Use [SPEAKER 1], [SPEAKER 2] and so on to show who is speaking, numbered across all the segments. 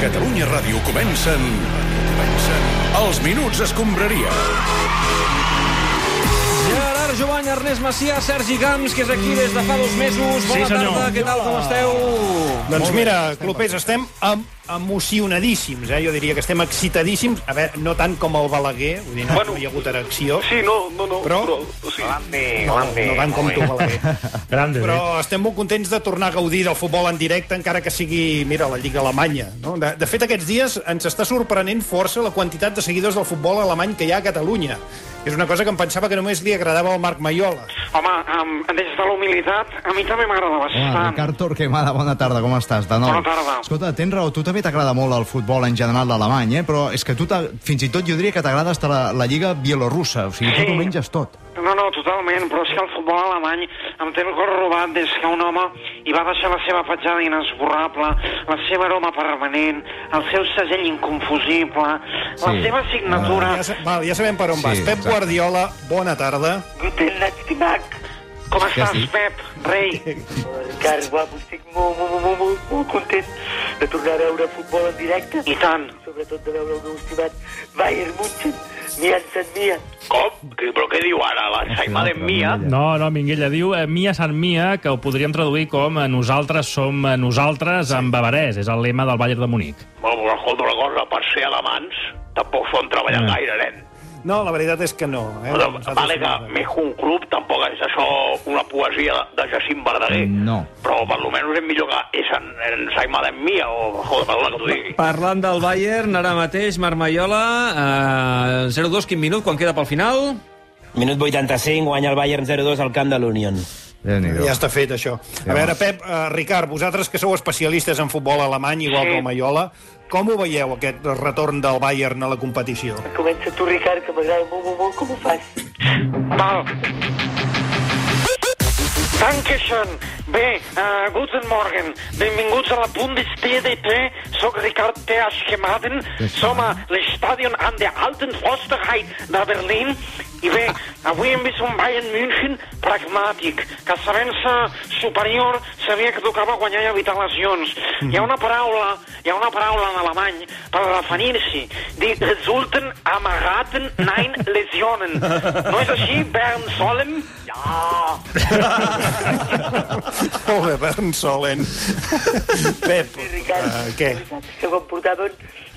[SPEAKER 1] Catalunya Ràdio comencen... comencen... Els Minuts Escombraria.
[SPEAKER 2] Gerard Jovany, Ernest Macià, Sergi Camps, que és aquí des de fa dos mesos. Bona
[SPEAKER 3] Sí, senyor.
[SPEAKER 2] tarda, què tal, com esteu?
[SPEAKER 3] Doncs mira, clubers, estem em emocionadíssims, eh? jo diria que estem excitadíssims, a veure, no tant com el Balaguer, vull dir, no, bueno, no hi ha hagut erecció,
[SPEAKER 4] Sí, no, no, no.
[SPEAKER 3] Però-
[SPEAKER 4] sí.
[SPEAKER 3] no, no tant com tu, Balaguer,
[SPEAKER 5] Grande, eh?
[SPEAKER 3] però
[SPEAKER 5] Però...
[SPEAKER 3] estem molt contents de tornar a gaudir del futbol en directe, encara que sigui, mira, la Lliga Alemanya. No? De, de fet, aquests dies ens està sorprenent força la quantitat de seguidors del futbol alemany que hi ha a Catalunya. És una cosa que em pensava que només li agradava al Marc Maiola.
[SPEAKER 6] Home, um, des de la humilitat, a mi també m'agrada
[SPEAKER 5] Hola,
[SPEAKER 6] bastant.
[SPEAKER 5] Ricard Torquemada, bona tarda, com estàs? De nou.
[SPEAKER 6] Bona tarda.
[SPEAKER 5] Escolta, tens raó, tu també t'agrada molt el futbol en general l'alemany, eh? però és que tu, t'ag- fins i tot, jo diria que t'agrada hasta la, la lliga bielorrussa, o sigui,
[SPEAKER 6] Sí.
[SPEAKER 5] tu t'ho menges tot.
[SPEAKER 6] No, no, totalment, però és que el futbol alemany em té el cor robat des que un home hi va deixar la seva petjada inesborrable, la seva aroma permanent, el seu segell inconfusible, sí. la
[SPEAKER 5] Sí.
[SPEAKER 6] seva signatura...
[SPEAKER 3] Ja, sa- val, ja sabem per
[SPEAKER 5] Sí,
[SPEAKER 3] on sí, vas. Pep
[SPEAKER 5] exacte.
[SPEAKER 3] Guardiola, bona tarda.
[SPEAKER 7] Guten Nacht, Mac.
[SPEAKER 6] Com
[SPEAKER 5] Ja
[SPEAKER 6] estàs,
[SPEAKER 5] sí.
[SPEAKER 6] Pep, rei?
[SPEAKER 7] Ricard, guapo, estic molt, molt, molt, molt, molt content de tornar a veure futbol en directe.
[SPEAKER 6] I tant.
[SPEAKER 7] Sobretot de veure el meu estimat Bayern München, Mian San Mian.
[SPEAKER 4] Com? Que- Però què diu ara? Barça i Madre Mia?
[SPEAKER 8] No, no, Minguella, diu eh, Mia San Mia, que ho podríem traduir com eh, nosaltres som eh, nosaltres en bavarès, és el lema del Bayern de Munic.
[SPEAKER 4] Bueno, però escolta una cosa, per ser alemans tampoc són treballant
[SPEAKER 8] Mm.
[SPEAKER 4] gaire, nen.
[SPEAKER 3] No, la veritat és que no. Eh?
[SPEAKER 4] Però,
[SPEAKER 3] Nosaltres
[SPEAKER 4] vale que
[SPEAKER 3] som-
[SPEAKER 4] més que un club tampoc és això una poesia de Jacint Verdaguer.
[SPEAKER 5] No.
[SPEAKER 4] Però per lo menys és millor que Ah, és en, en Saima de Mia o... Joder, perdona que t'ho digui.
[SPEAKER 2] Parlant del Bayern, ara mateix, Marc Maiola, eh, 0-2, quin minut, quan queda pel final?
[SPEAKER 9] Minut 85, guanya el Bayern 0-2 al camp de l'Union.
[SPEAKER 5] Déu-n'hi-do.
[SPEAKER 3] Ja està fet, això. A veure, Pep, eh, Ricard, vosaltres que sou especialistes en futbol alemany, igual
[SPEAKER 6] Sí.
[SPEAKER 3] que el Maiola, com ho veieu, aquest retorn del Bayern a la competició?
[SPEAKER 7] Comença tu, Ricard, que m'agrada molt, molt, molt com ho fas.
[SPEAKER 6] Val. Dankeschön. Bé, uh, guten Morgen. Benvinguts a la Bundesdp. Soc Ricard Teasch Gemaden. Som a l'Estadion an der Alten Försterheit de Berlín. I bé, avui hem vist un Bayern München pragmàtic, que sabent-se superior sabia que tocava guanyar i evitar lesions. Hi ha una paraula, hi ha una paraula en alemany per referir-s'hi. Dir resulten amagaten nein lesionen. No és així, Bern Solem? Ja.
[SPEAKER 3] Molt bé, Bern Solen. eh? Pep,
[SPEAKER 7] Sí, Ricard,
[SPEAKER 3] eh,
[SPEAKER 5] Ah.
[SPEAKER 3] què?
[SPEAKER 7] que quan portaven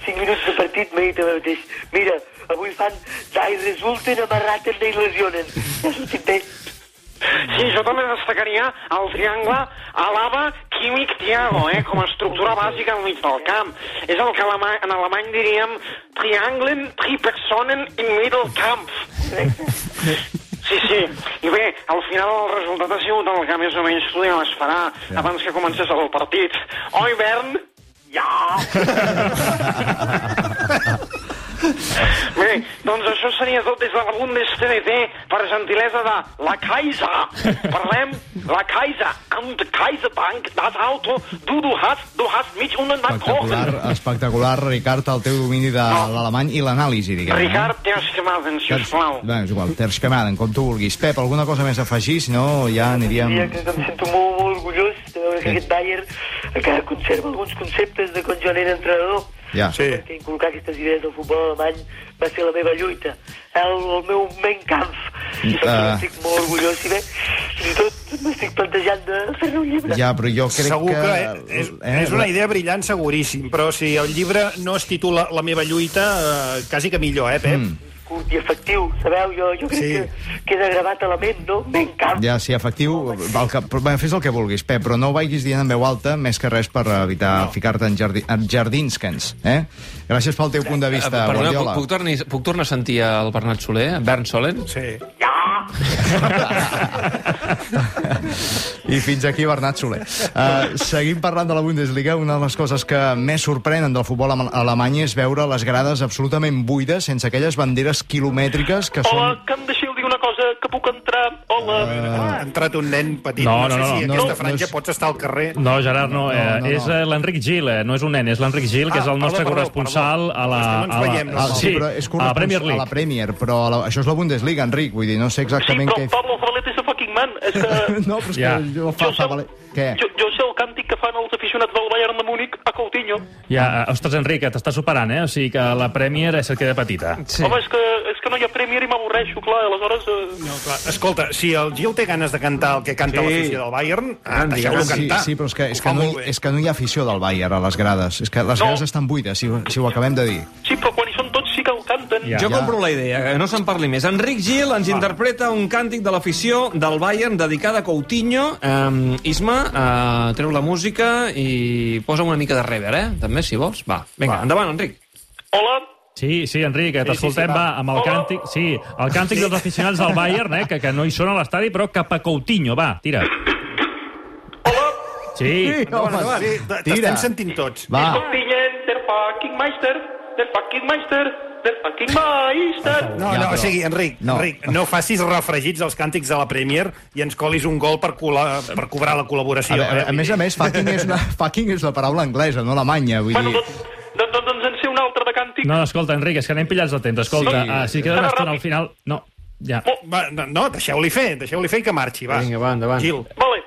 [SPEAKER 7] 5 minuts de partit m'he dit a mi mateix, mira, avui fan dai resulten amarraten i lesionen. Ja ha sortit bé.
[SPEAKER 6] Sí, jo també destacaria el triangle Alaba, Kimmich, Thiago, eh, com a estructura bàsica al mig del camp. És el que alema en alemany diríem trianglen, tripersonen in Mittelkampf. Sí, sí. I bé, al final el resultat ha sigut el que més o menys podíem esperar abans que comencés el partit. Oi, Bern? Ja! Bé, doncs això seria tot des de la Bundesdrt per gentilesa de la Kaiser. Parlem, la Kaiser, amb Kaiserbank, das Auto, du, du hast, du hast mich unten
[SPEAKER 5] Espectacular,
[SPEAKER 6] abkochen.
[SPEAKER 5] espectacular, Ricard, el teu domini de l'alemany i l'anàlisi, diguem.
[SPEAKER 6] Ricard, tens que m'aden, sisplau.
[SPEAKER 5] Bé, és igual, Ter Schkemaden, com tu vulguis. Pep, alguna cosa més a afegir? Si no, ja aniríem...
[SPEAKER 7] Mira, que, que em sento molt, molt orgullós de veure que aquest Bayern encara conserva alguns conceptes de quan jo n'era entrenador.
[SPEAKER 5] Ja.
[SPEAKER 3] Sí.
[SPEAKER 7] Perquè inculcar aquestes idees del futbol alemany va ser la meva lluita, el, el meu main camp. I
[SPEAKER 5] Mm,
[SPEAKER 7] per això
[SPEAKER 5] ah.
[SPEAKER 7] estic molt orgullós i bé, fins i tot m'estic plantejant de fer-ne un llibre.
[SPEAKER 5] Ja, però jo crec
[SPEAKER 3] Segur que eh,
[SPEAKER 5] que eh,
[SPEAKER 3] és, és una idea brillant seguríssim, però si el llibre no es titula La meva lluita, eh, quasi que millor, eh, Pep? Mm.
[SPEAKER 7] curt i efectiu, sabeu? Jo, jo crec
[SPEAKER 3] Sí.
[SPEAKER 7] sí. que queda gravat a la ment, no? Ben camp.
[SPEAKER 5] Ja, sí, efectiu, el que, però, bé, fes el que vulguis, Pep, però no ho vagis dient en veu alta, més que res per evitar no. ficar-te en, jardi, en jardins que ens, eh? Gràcies pel teu punt de vista,
[SPEAKER 2] Eh, Perdoneu, puc,
[SPEAKER 5] Guardiola.
[SPEAKER 2] puc, tornar, puc tornar a sentir el Bernat Soler, Bern Solen?
[SPEAKER 3] Sí.
[SPEAKER 5] I fins aquí Bernat Soler. Uh, seguim parlant de la Bundesliga. Una de les coses que més sorprenen del futbol ama- alemany és veure les grades absolutament buides, sense aquelles banderes quilomètriques que
[SPEAKER 4] Hola,
[SPEAKER 5] són...
[SPEAKER 4] que em deixeu dir una cosa, que puc entrar? Hola.
[SPEAKER 3] Ah, Ha entrat un nen petit, no,
[SPEAKER 8] No,
[SPEAKER 3] no,
[SPEAKER 8] no,
[SPEAKER 3] no sé si
[SPEAKER 8] no, no,
[SPEAKER 3] aquesta
[SPEAKER 5] Ah. no,
[SPEAKER 3] franja
[SPEAKER 5] no és-
[SPEAKER 3] pots estar al carrer.
[SPEAKER 8] No, Gerard, no, eh,
[SPEAKER 5] No, no, no.
[SPEAKER 8] és eh, l'Enric Gil, eh, no és un nen, és l'Enric Gil, que
[SPEAKER 3] Ah,
[SPEAKER 8] és el nostre
[SPEAKER 3] perdó, perdó,
[SPEAKER 8] corresponsal
[SPEAKER 3] perdó.
[SPEAKER 8] a la...
[SPEAKER 3] És que no ens
[SPEAKER 8] a la-
[SPEAKER 3] veiem, no,
[SPEAKER 8] a-
[SPEAKER 3] no.
[SPEAKER 8] sí,
[SPEAKER 5] Ah, però és
[SPEAKER 8] a la Premier
[SPEAKER 5] corresponsal-
[SPEAKER 8] League.
[SPEAKER 5] A la Premier, però a la, això és la Bundesliga, Enric, vull dir, no sé
[SPEAKER 4] Sí,
[SPEAKER 5] exactament
[SPEAKER 4] però
[SPEAKER 5] què...
[SPEAKER 4] Pablo Zabaleta és a fucking man. És que...
[SPEAKER 5] No, però és
[SPEAKER 8] Ja.
[SPEAKER 5] que jo fa,
[SPEAKER 4] Jo sé,
[SPEAKER 5] fa valer... Què?
[SPEAKER 4] jo, jo sé el càntic que fan els aficionats del Bayern de Múnich a Coutinho.
[SPEAKER 8] Ja, eh, ostres, Enric, t'està superant, eh? O sigui que la Premier és que eh? queda petita.
[SPEAKER 4] Sí. Home, és que, és que no hi ha Premier i m'avorreixo, clar, aleshores... Eh...
[SPEAKER 3] No, clar. Escolta, si el Gil té ganes de cantar el que canta
[SPEAKER 2] Sí.
[SPEAKER 3] sí. l'afició del Bayern, ah,
[SPEAKER 2] Tant,
[SPEAKER 3] deixeu-lo
[SPEAKER 2] digue'm.
[SPEAKER 5] Sí,
[SPEAKER 3] cantar.
[SPEAKER 5] sí, però és que, és,
[SPEAKER 3] Ho
[SPEAKER 5] que
[SPEAKER 3] fa
[SPEAKER 5] no,
[SPEAKER 3] molt bé.
[SPEAKER 5] hi- és que no hi ha afició del Bayern a les grades. És que les
[SPEAKER 4] No.
[SPEAKER 5] grades estan buides, si, ho- si ho acabem de dir.
[SPEAKER 4] Sí, però quan hi són tots sí que ho canten.
[SPEAKER 8] Ja.
[SPEAKER 2] Jo compro la idea, que no se'n parli més. Enric Gil ens interpreta un càntic de l'afició del Bayern dedicada a Coutinho. Um, Isma, uh, treu la música i posa una mica de rever, eh? També, si vols. Va, vinga, endavant, Enric.
[SPEAKER 4] Hola,
[SPEAKER 8] Sí, sí, Enric, eh, t'escoltem, va. amb el
[SPEAKER 4] Hola.
[SPEAKER 8] càntic... Sí, el càntic dels aficionats del Bayern, eh, que, que no hi són a l'estadi, però cap a Coutinho, va, tira.
[SPEAKER 4] hola,
[SPEAKER 8] Sí,
[SPEAKER 5] home,
[SPEAKER 3] Sí, t- T'estem
[SPEAKER 5] Tira.
[SPEAKER 3] sentint tots.
[SPEAKER 5] Va,
[SPEAKER 4] Coutinho, der fucking Meister, der fucking Meister, der fucking Meister.
[SPEAKER 3] No,
[SPEAKER 5] Ja,
[SPEAKER 3] no,
[SPEAKER 5] però-
[SPEAKER 3] o sigui, Enric,
[SPEAKER 5] No.
[SPEAKER 3] no. Enric, no facis refregits als càntics de la Premier i ens colis un gol per, cola, per cobrar la
[SPEAKER 5] a,
[SPEAKER 3] col·laboració. eh?
[SPEAKER 5] veure, a més a més, fucking és, una, fucking és la paraula anglesa, no alemanya. Vull
[SPEAKER 4] Bueno,
[SPEAKER 5] dir...
[SPEAKER 4] doncs, doncs, doncs, doncs en sé un altre de càntic.
[SPEAKER 8] No, escolta, Enric, és que anem pillats de temps. Escolta,
[SPEAKER 5] Sí.
[SPEAKER 8] sí. uh, si queda una estona al final... No, ja.
[SPEAKER 3] Va, no, no, deixeu-li fer, deixeu-li fer i que marxi, va.
[SPEAKER 2] Vinga, va, endavant.
[SPEAKER 3] Gil.
[SPEAKER 4] Vale.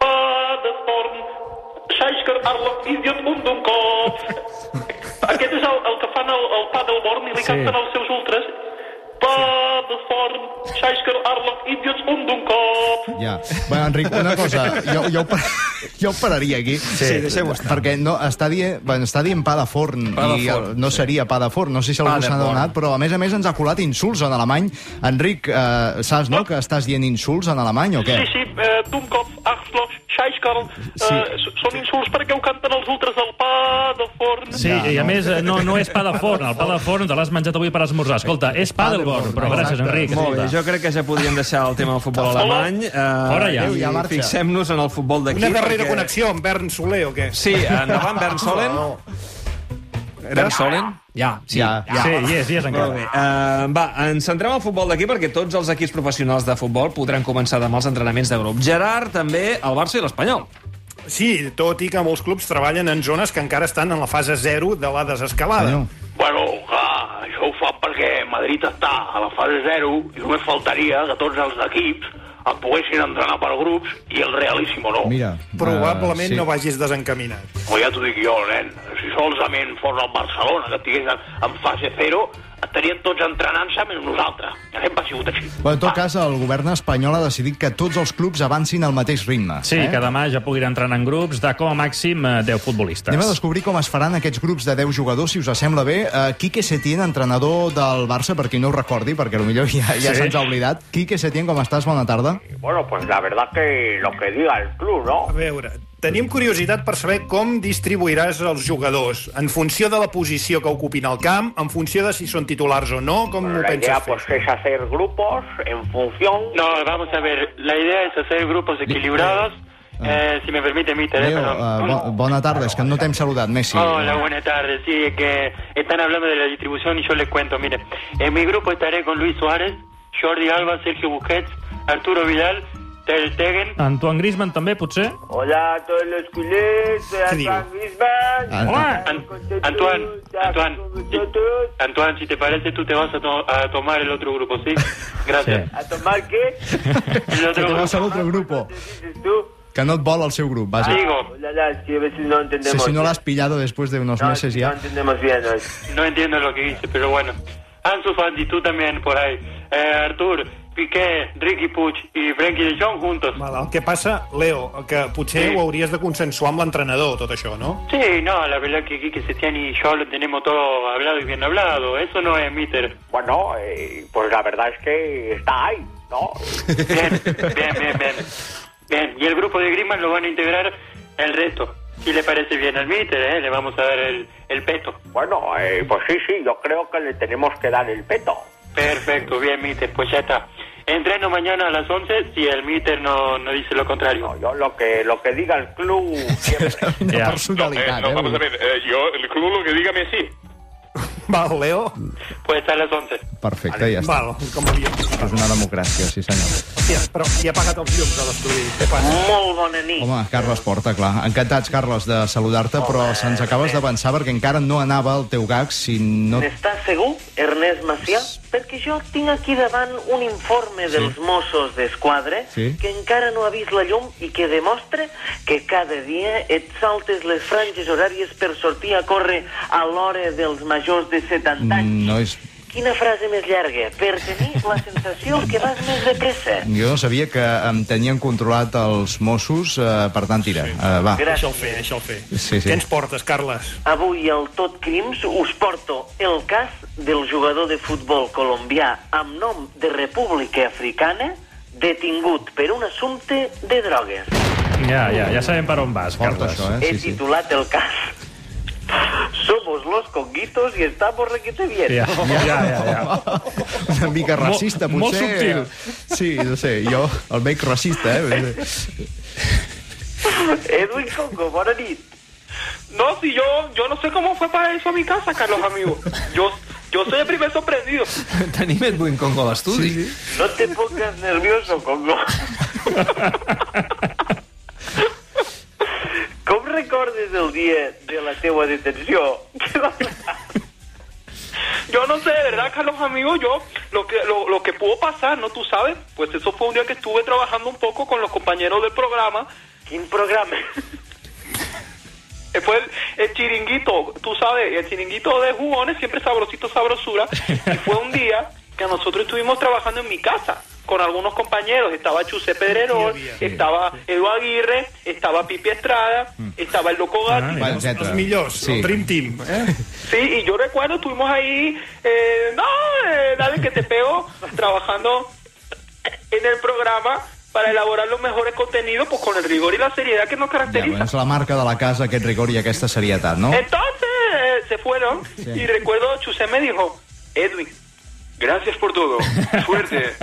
[SPEAKER 4] Paderborn, Scheischer, Arlof, Idiot, Undumkopf. Aquest és el, el que fan el, el Paderborn i li
[SPEAKER 8] Sí.
[SPEAKER 4] canten els seus ultres. Paderborn, Scheischer, Arlof, Idiot, Undumkopf.
[SPEAKER 5] Ja. Bueno, Enric, una cosa, jo, jo, ho par- jo ho pararia aquí. Sí,
[SPEAKER 2] deixem-ho estar.
[SPEAKER 5] Perquè no, està, dient, bueno, està dient pa de forn,
[SPEAKER 2] Pa de
[SPEAKER 5] i
[SPEAKER 2] forn,
[SPEAKER 5] el- no seria pa de forn, no sé si
[SPEAKER 2] Pa
[SPEAKER 5] algú
[SPEAKER 2] de
[SPEAKER 5] s'ha
[SPEAKER 2] forn.
[SPEAKER 5] adonat, però a més a més ens ha colat insults en alemany. Enric, eh, saps, no?, que estàs dient insults en alemany o què?
[SPEAKER 4] Sí, sí, eh, Dummkopf, Arschloch, Scheischer, eh, s- són insults perquè ho canten els ultres del Paderborn.
[SPEAKER 8] Sí, ja, i a més, eh, no, no és pa de forn. El pa de forn te l'has menjat avui per esmorzar. Escolta, és pa del born, però gràcies,
[SPEAKER 5] Exacte.
[SPEAKER 8] Enric.
[SPEAKER 2] Molt bé,
[SPEAKER 8] Escolta.
[SPEAKER 2] jo crec que ja podíem deixar el tema del futbol alemany. Uh,
[SPEAKER 8] Fora ja. Adéu,
[SPEAKER 5] ja marxa.
[SPEAKER 2] Fixem-nos en el futbol d'aquí.
[SPEAKER 3] Una darrera
[SPEAKER 2] perquè-
[SPEAKER 3] connexió amb Bern Soler o què?
[SPEAKER 2] Sí, eh, endavant, Bern Solen.
[SPEAKER 3] No.
[SPEAKER 2] Bern Solen? Ja, sí.
[SPEAKER 5] Ja, ja.
[SPEAKER 8] Sí, hi és, hi és
[SPEAKER 2] Molt
[SPEAKER 8] encara.
[SPEAKER 2] bé. Uh, va, ens centrem al futbol d'aquí perquè tots els equips professionals de futbol podran començar demà els entrenaments de grup. Gerard, també, el Barça i l'Espanyol.
[SPEAKER 3] Sí, tot i que molts clubs treballen en zones que encara estan en la fase 0 de la desescalada.
[SPEAKER 5] Senyor.
[SPEAKER 4] Bueno, clar, això ho fan perquè Madrid està a la fase 0 i només faltaria que tots els equips el poguessin entrenar per grups i el Realíssimo no.
[SPEAKER 5] Mira,
[SPEAKER 3] Probablement
[SPEAKER 5] eh,
[SPEAKER 3] no vagis desencaminat.
[SPEAKER 4] O ja t'ho dic jo, nen. Si solament fos el Barcelona que estigués en, en fase 0, estarien tots entrenant-se menys nosaltres. Ja sempre ha sigut així.
[SPEAKER 5] Bueno, en tot cas, el govern espanyol ha decidit que tots els clubs avancin al mateix ritme. eh?
[SPEAKER 8] Sí, que demà ja puguin entrar en grups de com a màxim eh, 10 futbolistes.
[SPEAKER 5] Anem a descobrir com es faran aquests grups de 10 jugadors, si us sembla bé. Uh, Quique Setién, entrenador del Barça, per qui no ho recordi, perquè potser ja, ja
[SPEAKER 8] Sí.
[SPEAKER 5] se'ns ha oblidat. Quique Setién, com estàs? Bona tarda.
[SPEAKER 10] Bueno, pues la verdad que lo que diga el club, ¿no?
[SPEAKER 3] A veure, tenim curiositat per saber com distribuiràs els jugadors, en funció de la posició que ocupin al camp, en funció de si són titulars o no, com
[SPEAKER 10] Bueno,
[SPEAKER 3] ho
[SPEAKER 10] la idea
[SPEAKER 3] penses fer?
[SPEAKER 10] pues
[SPEAKER 7] doncs
[SPEAKER 10] es hacer grupos en función...
[SPEAKER 4] No, vamos a ver. La idea es hacer grupos equilibrados. Eh, si me permite mi
[SPEAKER 5] Leo,
[SPEAKER 4] teléfono.
[SPEAKER 5] uh, bo bona tarda, és que no t'hem saludat, Messi.
[SPEAKER 4] Hola, buenas tardes. Sí, es que están hablando de la distribución y yo les cuento. Mire, en mi grupo estaré con Luis Suárez, Jordi Alba, Sergio Busquets, Arturo Vidal, Ter Stegen.
[SPEAKER 8] Antoine Griezmann també, potser?
[SPEAKER 10] Ah. Hola a todos los culés, soy
[SPEAKER 3] Sí,
[SPEAKER 10] Antoine Griezmann.
[SPEAKER 5] Ah,
[SPEAKER 8] Hola!
[SPEAKER 4] An- Antoine, Antoine, sí. Antoine, si te parece, tú te vas a, to- a tomar el otro grupo, ¿sí? Gracias.
[SPEAKER 10] ¿A tomar qué? Ah,
[SPEAKER 4] El
[SPEAKER 5] Que
[SPEAKER 4] otro
[SPEAKER 5] te
[SPEAKER 4] grupo.
[SPEAKER 5] vas a l'altre grup, oh.
[SPEAKER 10] dices tú?
[SPEAKER 5] que no et vol el seu grup, vaja.
[SPEAKER 4] Digo,
[SPEAKER 10] Hola, la, es que a veces no
[SPEAKER 5] Si,
[SPEAKER 10] entendemos.
[SPEAKER 5] si no l'has pillado després de unos
[SPEAKER 10] No,
[SPEAKER 5] meses
[SPEAKER 10] no
[SPEAKER 5] ja...
[SPEAKER 10] entendemos bien hoy.
[SPEAKER 4] no entiendo lo que dice, pero bueno. Ansu Fati, tú también por ahí. Eh, Artur, Piqué, Ricky Puig y Frenkie de Jong juntos.
[SPEAKER 3] Val, el que passa, Leo, que potser
[SPEAKER 4] Sí.
[SPEAKER 3] ho hauries de consensuar amb l'entrenador, tot això, no?
[SPEAKER 4] Sí, no, la verdad que Quique Setién y yo lo tenemos todo hablado y bien hablado. Eso no es míter.
[SPEAKER 10] Bueno, eh, pues la verdad es que está ahí, ¿no?
[SPEAKER 4] Bien, bien, bien, bien. Bien, y el grupo de Grimas lo van a integrar el resto. Si le parece bien al míter, ¿eh? le vamos a dar el, el peto.
[SPEAKER 10] Bueno, eh, pues sí, sí, yo creo que le tenemos que dar el peto.
[SPEAKER 4] Perfecto, bien, míter, pues ya está. Entreno mañana a las 11 si el míter no, no dice lo contrario.
[SPEAKER 10] No, yo lo que, lo que diga el club siempre.
[SPEAKER 5] Una
[SPEAKER 8] Ja.
[SPEAKER 5] personalitat, eh? vull dir.
[SPEAKER 4] yo, el club lo que diga sí.
[SPEAKER 3] Val, Leo?
[SPEAKER 4] Pues a las 11.
[SPEAKER 5] Perfecte, ja està.
[SPEAKER 3] Val, com havia...
[SPEAKER 5] És una democràcia, sí senyor.
[SPEAKER 3] Hòstia, però qui ha pagat els llums a l'estudi? Què passa?
[SPEAKER 6] Molt bona nit.
[SPEAKER 5] Home, Carles Porta, clar. Encantats, Carles, de saludar-te, però se'ns acabes d'avançar perquè encara no anava el teu gag si no...
[SPEAKER 7] N'estàs segur, Ernest Macià? Perquè jo tinc aquí davant un informe sí. dels Mossos d'Esquadra
[SPEAKER 5] Sí.
[SPEAKER 7] que encara no ha vist la llum i que demostra que cada dia et saltes les franges horàries per sortir a córrer a l'hora dels majors de 70 anys.
[SPEAKER 5] No és...
[SPEAKER 7] Quina frase més llarga, per tenir la sensació que vas més de pressa.
[SPEAKER 5] Jo no sabia que em tenien controlat els Mossos, eh, per tant, tira. Eh, va.
[SPEAKER 3] Deixa'l fer, deixa'l fer.
[SPEAKER 5] Sí, sí.
[SPEAKER 3] Què ens portes, Carles?
[SPEAKER 7] Avui al Tot Crims us porto el cas del jugador de futbol colombià amb nom de República Africana detingut per un assumpte de drogues.
[SPEAKER 8] Ja, ja, ja sabem per on vas,
[SPEAKER 5] Fort,
[SPEAKER 8] Carles.
[SPEAKER 5] això, eh?
[SPEAKER 7] He
[SPEAKER 5] Sí, sí.
[SPEAKER 7] titulat el cas Somos los conguitos y estamos requete bien.
[SPEAKER 8] Ja, ja, ja. ja.
[SPEAKER 5] Una mica racista,
[SPEAKER 8] Molt- molt
[SPEAKER 5] potser. subtil. Sí, no sé, jo el veig racista, eh?
[SPEAKER 7] Edwin Congo, bona nit.
[SPEAKER 4] No, si yo, yo no sé cómo fue para eso a mi casa, Carlos, amigo. Yo, yo soy el primer sorprendido.
[SPEAKER 2] Tenim Edwin Congo a l'estudi. Sí,
[SPEAKER 7] No te pongas nervioso, Congo. Com recordes el dia de la teua detenció?
[SPEAKER 4] Yo no sé, de verdad, Carlos, amigo, yo, lo que, lo, lo que pudo pasar, ¿no? Tú sabes, pues eso fue un día que estuve trabajando un poco con los compañeros del programa.
[SPEAKER 7] Quin programa?
[SPEAKER 4] Eh, Fue el, el chiringuito, tú sabes, el chiringuito de jugones, siempre sabrosito, sabrosura. Y fue un día que nosotros estuvimos trabajando en mi casa con algunos compañeros. Estaba Chuse Pedrerol, estaba Edu Aguirre, estaba Pipi Estrada, estaba el Loco
[SPEAKER 8] Ah,
[SPEAKER 4] Gatti.
[SPEAKER 5] Va,
[SPEAKER 3] Els,
[SPEAKER 5] etcètera.
[SPEAKER 3] els millors, sí.
[SPEAKER 5] Sí.
[SPEAKER 3] el Dream Team. Eh?
[SPEAKER 4] Sí, y yo recuerdo, estuvimos ahí, eh, no, eh, dale que te pego, trabajando en el programa para elaborar los mejores contenidos, pues con el rigor y la seriedad que nos
[SPEAKER 5] Ja,
[SPEAKER 4] caracteriza.
[SPEAKER 5] bueno, és la marca de la casa, aquest rigor i aquesta serietat, no?
[SPEAKER 4] Entonces eh, se fueron y recuerdo Chusé me dijo, Edwin, gracias por todo, suerte.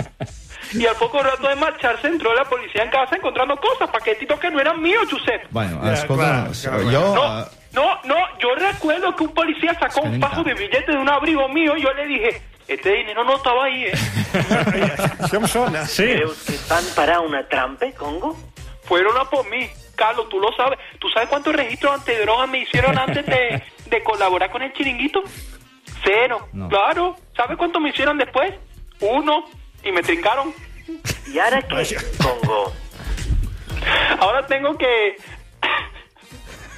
[SPEAKER 4] Y al poco rato de marcharse entró la policía en casa encontrando cosas, paquetitos que no eran míos, Chusé.
[SPEAKER 5] Bueno,
[SPEAKER 3] Ja,
[SPEAKER 5] escolta,
[SPEAKER 3] clar, clar, clar.
[SPEAKER 5] jo...
[SPEAKER 4] No,
[SPEAKER 8] Ah.
[SPEAKER 5] eh,
[SPEAKER 4] no, no, yo recuerdo que un policía sacó un fajo de billetes de un abrigo mío y yo le dije, este dinero no estaba ahí, ¿eh?
[SPEAKER 3] Això em sona.
[SPEAKER 8] Sí,
[SPEAKER 7] Creus que van parar una trampa, Congo?
[SPEAKER 4] Fueron a por mí. Carlos, tú lo sabes. ¿Tú sabes cuántos registros antidrogas me hicieron antes de, de colaborar con el chiringuito? Cero.
[SPEAKER 5] No.
[SPEAKER 4] Claro. ¿Sabes cuántos me hicieron después? Uno. Y me trincaron.
[SPEAKER 7] I ara què, Congo?
[SPEAKER 4] Ahora tengo que...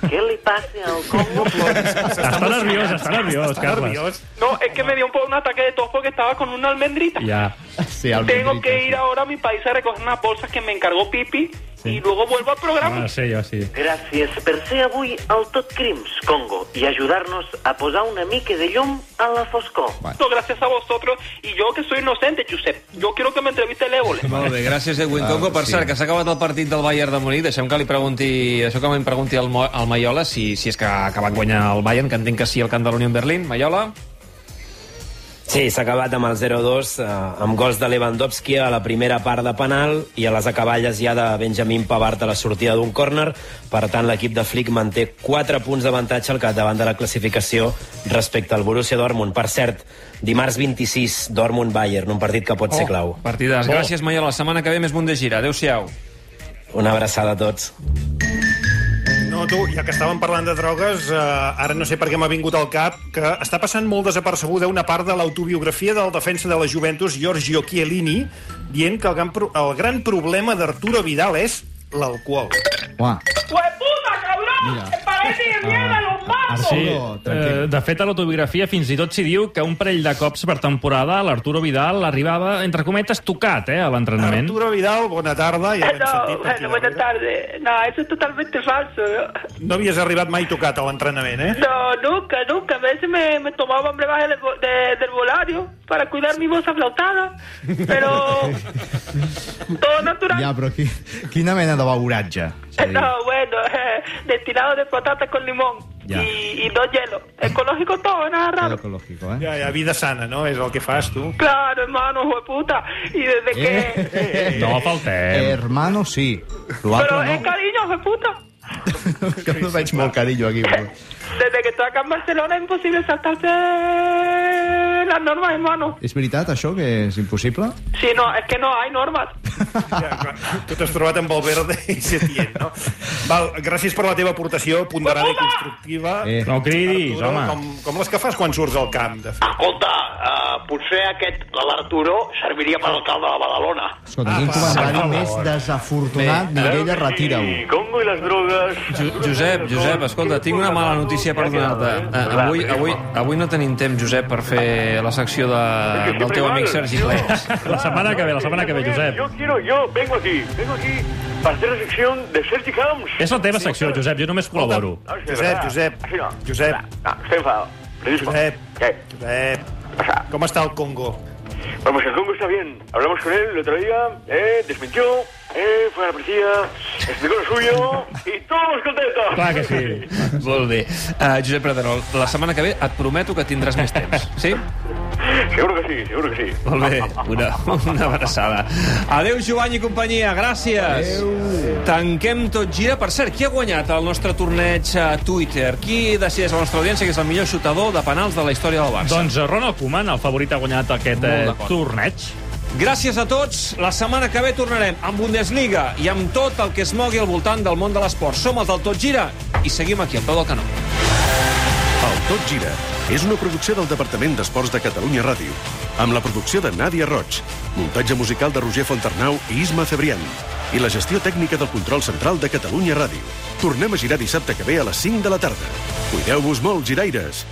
[SPEAKER 7] Què li passa al Congo?
[SPEAKER 8] està nerviós, està nerviós,
[SPEAKER 3] Està
[SPEAKER 8] Carles.
[SPEAKER 3] nerviós.
[SPEAKER 4] No, es que me dio un, po- un ataque de tos porque estaba con una almendrita.
[SPEAKER 8] Ja.
[SPEAKER 5] eh, Sí, el
[SPEAKER 4] Tengo
[SPEAKER 5] Benito,
[SPEAKER 4] que
[SPEAKER 5] sí.
[SPEAKER 4] ir ahora a mi país a recoger unas bolsas que me encargó Pipi y luego vuelvo al programa.
[SPEAKER 8] Ah, sí, jo sí.
[SPEAKER 7] Gràcies per ser avui al Tot Crims, Congo, i ajudar-nos a posar una mica de llum a la foscor.
[SPEAKER 4] No, Gracias a vosotros y yo que soy inocente, Giuseppe. Yo quiero que me entreviste el Évole.
[SPEAKER 2] Molt bé, gràcies, Edwin Congo. Per
[SPEAKER 5] Ah, sí.
[SPEAKER 2] cert, que s'ha acabat el partit del Bayern de Munic. Deixem que li pregunti, això que em pregunti al, Mo- al Maiola, si, si és que ha acabat guanyant el Bayern, que entenc que sí, el camp de l'Unió en Berlín. Maiola?
[SPEAKER 9] Sí, s'ha acabat amb el 0-2, eh, amb gols de Lewandowski a la primera part de penal i a les acaballes ja de Benjamin Pavard a la sortida d'un córner. Per tant, l'equip de Flick manté 4 punts d'avantatge al capdavant de la classificació respecte al Borussia Dortmund. Per cert, dimarts 26, Dortmund-Bayern, un partit que pot ser clau.
[SPEAKER 2] Oh, Partides. Gràcies, Maiola. La setmana que ve més Bundesliga. Adéu-siau.
[SPEAKER 9] Una abraçada a tots.
[SPEAKER 3] No, tu, ja que estàvem parlant de drogues, eh, ara no sé per què m'ha vingut al cap, que està passant molt desapercebuda una part de l'autobiografia del defensa de la Juventus, Giorgio Chiellini, dient que el gran, pro el gran problema d'Arturo Vidal és l'alcohol.
[SPEAKER 5] Uah,
[SPEAKER 4] ¡Hueputa, cabrón!
[SPEAKER 5] Mira. Ah.
[SPEAKER 4] ¡Que parece de mierda los malos!
[SPEAKER 8] Sí,
[SPEAKER 5] Arturo, tranquil.
[SPEAKER 8] eh, de fet, a l'autobiografia fins i tot s'hi diu que un parell de cops per temporada l'Arturo Vidal arribava, entre cometes, tocat eh, a l'entrenament.
[SPEAKER 3] Arturo Vidal, bona tarda. Ja l'hem
[SPEAKER 4] No,
[SPEAKER 3] sentit aquí
[SPEAKER 4] bueno, buenas
[SPEAKER 3] darrere.
[SPEAKER 4] tardes. No, eso es totalmente falso. ¿no?
[SPEAKER 3] No havies arribat mai tocat a l'entrenament, eh?
[SPEAKER 4] No, nunca, nunca. A veces me, me tomaba un brebaje de, de- del volario para cuidar mi voz aflautada. Pero todo natural.
[SPEAKER 5] ja, però qui, quina mena de beuratge? És a dir,
[SPEAKER 4] No, bueno, eh, destilado de patata con limón
[SPEAKER 5] Ya.
[SPEAKER 4] y, y dos hielos. Ecológico todo, nada
[SPEAKER 5] todo
[SPEAKER 4] raro.
[SPEAKER 5] ecológico, eh?
[SPEAKER 3] Ja, ja, vida sana, no? És el que fas, tu.
[SPEAKER 4] Claro, hermano, hueputa. Y desde que...
[SPEAKER 5] Eh,
[SPEAKER 8] No faltem.
[SPEAKER 5] Hermano, sí.
[SPEAKER 4] Pero
[SPEAKER 5] L'altre
[SPEAKER 4] es cariño, hueputa.
[SPEAKER 5] no. Que no veig molt carillo aquí. Però...
[SPEAKER 4] Desde que estoy acá en Barcelona es imposible saltarse el las normas, hermano.
[SPEAKER 5] És veritat, això, que és impossible?
[SPEAKER 4] Sí, no, es que no hay normas.
[SPEAKER 3] Tu t'has trobat amb Valverde i Setién, no? Val, gràcies per la teva aportació ponderada i constructiva.
[SPEAKER 5] Eh,
[SPEAKER 8] No cridis,
[SPEAKER 3] Arturo,
[SPEAKER 8] home.
[SPEAKER 3] com, com les que fas quan surts al camp, de fet.
[SPEAKER 10] Escolta, eh, potser aquest, l'Arturo, serviria per alcalde de Badalona.
[SPEAKER 8] Ah,
[SPEAKER 5] Escolta, quin comentari més desafortunat, Mireia, retira-ho.
[SPEAKER 10] Congo i les drogues...
[SPEAKER 2] Jo- Josep, Josep, escolta, tinc una mala notícia per donar-te. Eh, Avui, avui, avui no tenim temps, Josep, per fer la secció de, eh, del teu amic Sergi Clés.
[SPEAKER 7] eh.
[SPEAKER 8] La setmana que ve, la setmana que ve, Josep.
[SPEAKER 10] Yo quiero, yo vengo aquí, vengo aquí para hacer la sección de Sergi Camps.
[SPEAKER 8] És la teva secció, Josep, jo només col·laboro.
[SPEAKER 10] No, sí, de
[SPEAKER 3] Josep,
[SPEAKER 10] verdad.
[SPEAKER 3] Josep,
[SPEAKER 10] Así no.
[SPEAKER 3] Josep.
[SPEAKER 10] Ah, estoy enfadado. Te digo.
[SPEAKER 3] Josep.
[SPEAKER 10] ¿Qué?
[SPEAKER 3] Josep,
[SPEAKER 10] pasa?
[SPEAKER 3] com està el Congo?
[SPEAKER 10] Vamos, el Congo está bien. Hablamos con él el otro día, eh, desmintió, eh, fue a la policía, explicó lo suyo y todos contentos.
[SPEAKER 8] Clar que sí.
[SPEAKER 2] Molt bé. Uh, Josep Praderol, la setmana que ve et prometo que tindràs més temps, sí?
[SPEAKER 10] Seguro que sí, seguro que sí.
[SPEAKER 2] Molt bé, una, una abraçada. Adéu, Joan i companyia, gràcies. Adéu. Tanquem tot gira. Per cert, qui ha guanyat el nostre torneig a Twitter? Qui decideix a la nostra audiència que és el millor xutador de penals de la història del Barça?
[SPEAKER 8] Doncs eh, Ronald Koeman, el favorit, ha guanyat aquest eh,
[SPEAKER 2] Molt d'acord.
[SPEAKER 8] torneig.
[SPEAKER 2] Gràcies a tots. La setmana que ve tornarem amb Bundesliga i amb tot el que es mogui al voltant del món de l'esport. Som els del Tot Gira i seguim aquí, al peu del canó.
[SPEAKER 1] El Tot Gira és una producció del Departament d'Esports de Catalunya Ràdio, amb la producció de Nàdia Roig, muntatge musical de Roger Fontarnau i Isma Cebrián, i la gestió tècnica del control central de Catalunya Ràdio. Tornem a girar dissabte que ve a les 5 de la tarda. Cuideu-vos molt, giraires!